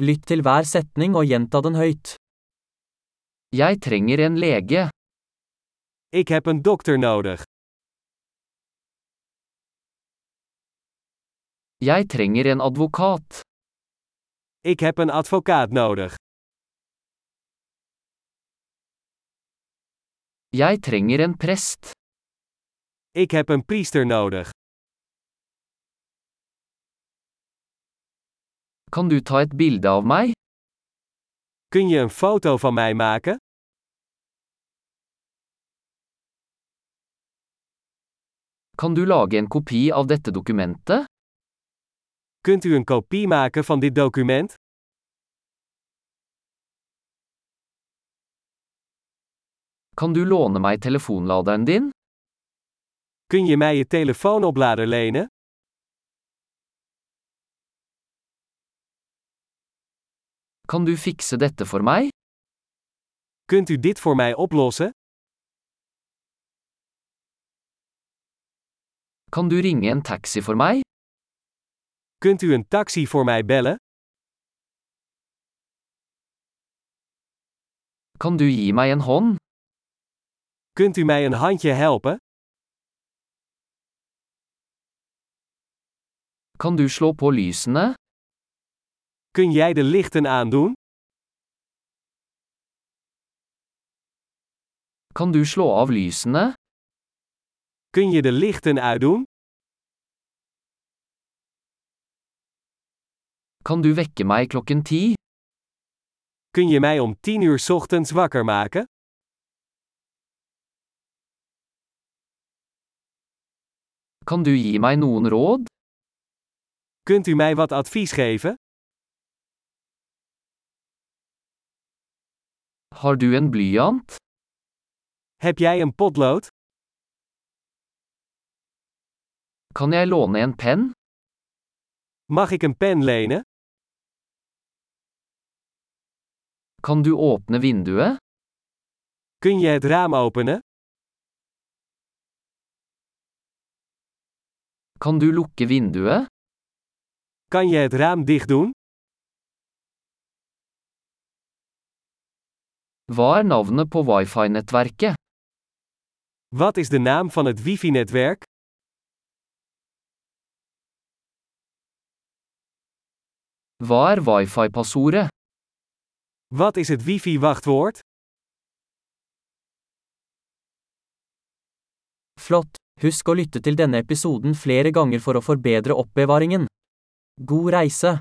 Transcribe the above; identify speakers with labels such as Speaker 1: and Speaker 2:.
Speaker 1: Lytt til hver setning og gjenta den høyt. Jeg trenger en lege.
Speaker 2: Ik heb een dokter nodig.
Speaker 1: Jeg trenger en advokat.
Speaker 2: Ik heb een advocaat nodig.
Speaker 1: Jeg trenger en prest.
Speaker 2: Ik heb een priester nodig.
Speaker 1: Kan du ta et bilde av meg?
Speaker 2: Kun je een foto van mij maken?
Speaker 1: Kan du lage en kopi av dette dokumentet?
Speaker 2: Kunt u een kopie maken van dit document?
Speaker 1: Kan du låne meg telefonladeren din?
Speaker 2: Kun je mij je telefoonoplader lenen?
Speaker 1: Kan du fikse dette for meg?
Speaker 2: Kunt u dit voor mij oplossen?
Speaker 1: Kan du ringe en taxi for meg?
Speaker 2: Kunt u een taxi voor mij bellen?
Speaker 1: Kan du gi meg en hånd?
Speaker 2: Kunt u mij een handje helpen?
Speaker 1: Kan du slå på lysene?
Speaker 2: Kun jij de lichten aandoen?
Speaker 1: Kan du slå av lysene?
Speaker 2: Kun je de lichten uitdoen?
Speaker 1: Kan du vekke meg klokken ti?
Speaker 2: Kun je mij om 10 uur 's ochtends wakker maken?
Speaker 1: Kan du gi meg noen råd?
Speaker 2: Kunt u mij wat advies geven?
Speaker 1: Har du en blyant?
Speaker 2: Heb jij een potlood?
Speaker 1: Kan jeg låne en penn?
Speaker 2: Mag ik een pen lenen?
Speaker 1: Kan du åpne vinduet?
Speaker 2: Kun je het raam openen?
Speaker 1: Kan du lukke vinduet?
Speaker 2: Kan je het raam dicht doen?
Speaker 1: Hva er navnet på wifi-nettverket?
Speaker 2: Wat is de naam van het wifi-netwerk?
Speaker 1: Hva er wifi-passordet?
Speaker 2: Wat is het wifi-wachtwoord?
Speaker 1: Flott! Husk å lytte til denne episoden flere ganger for å forbedre oppbevaringen. God reise!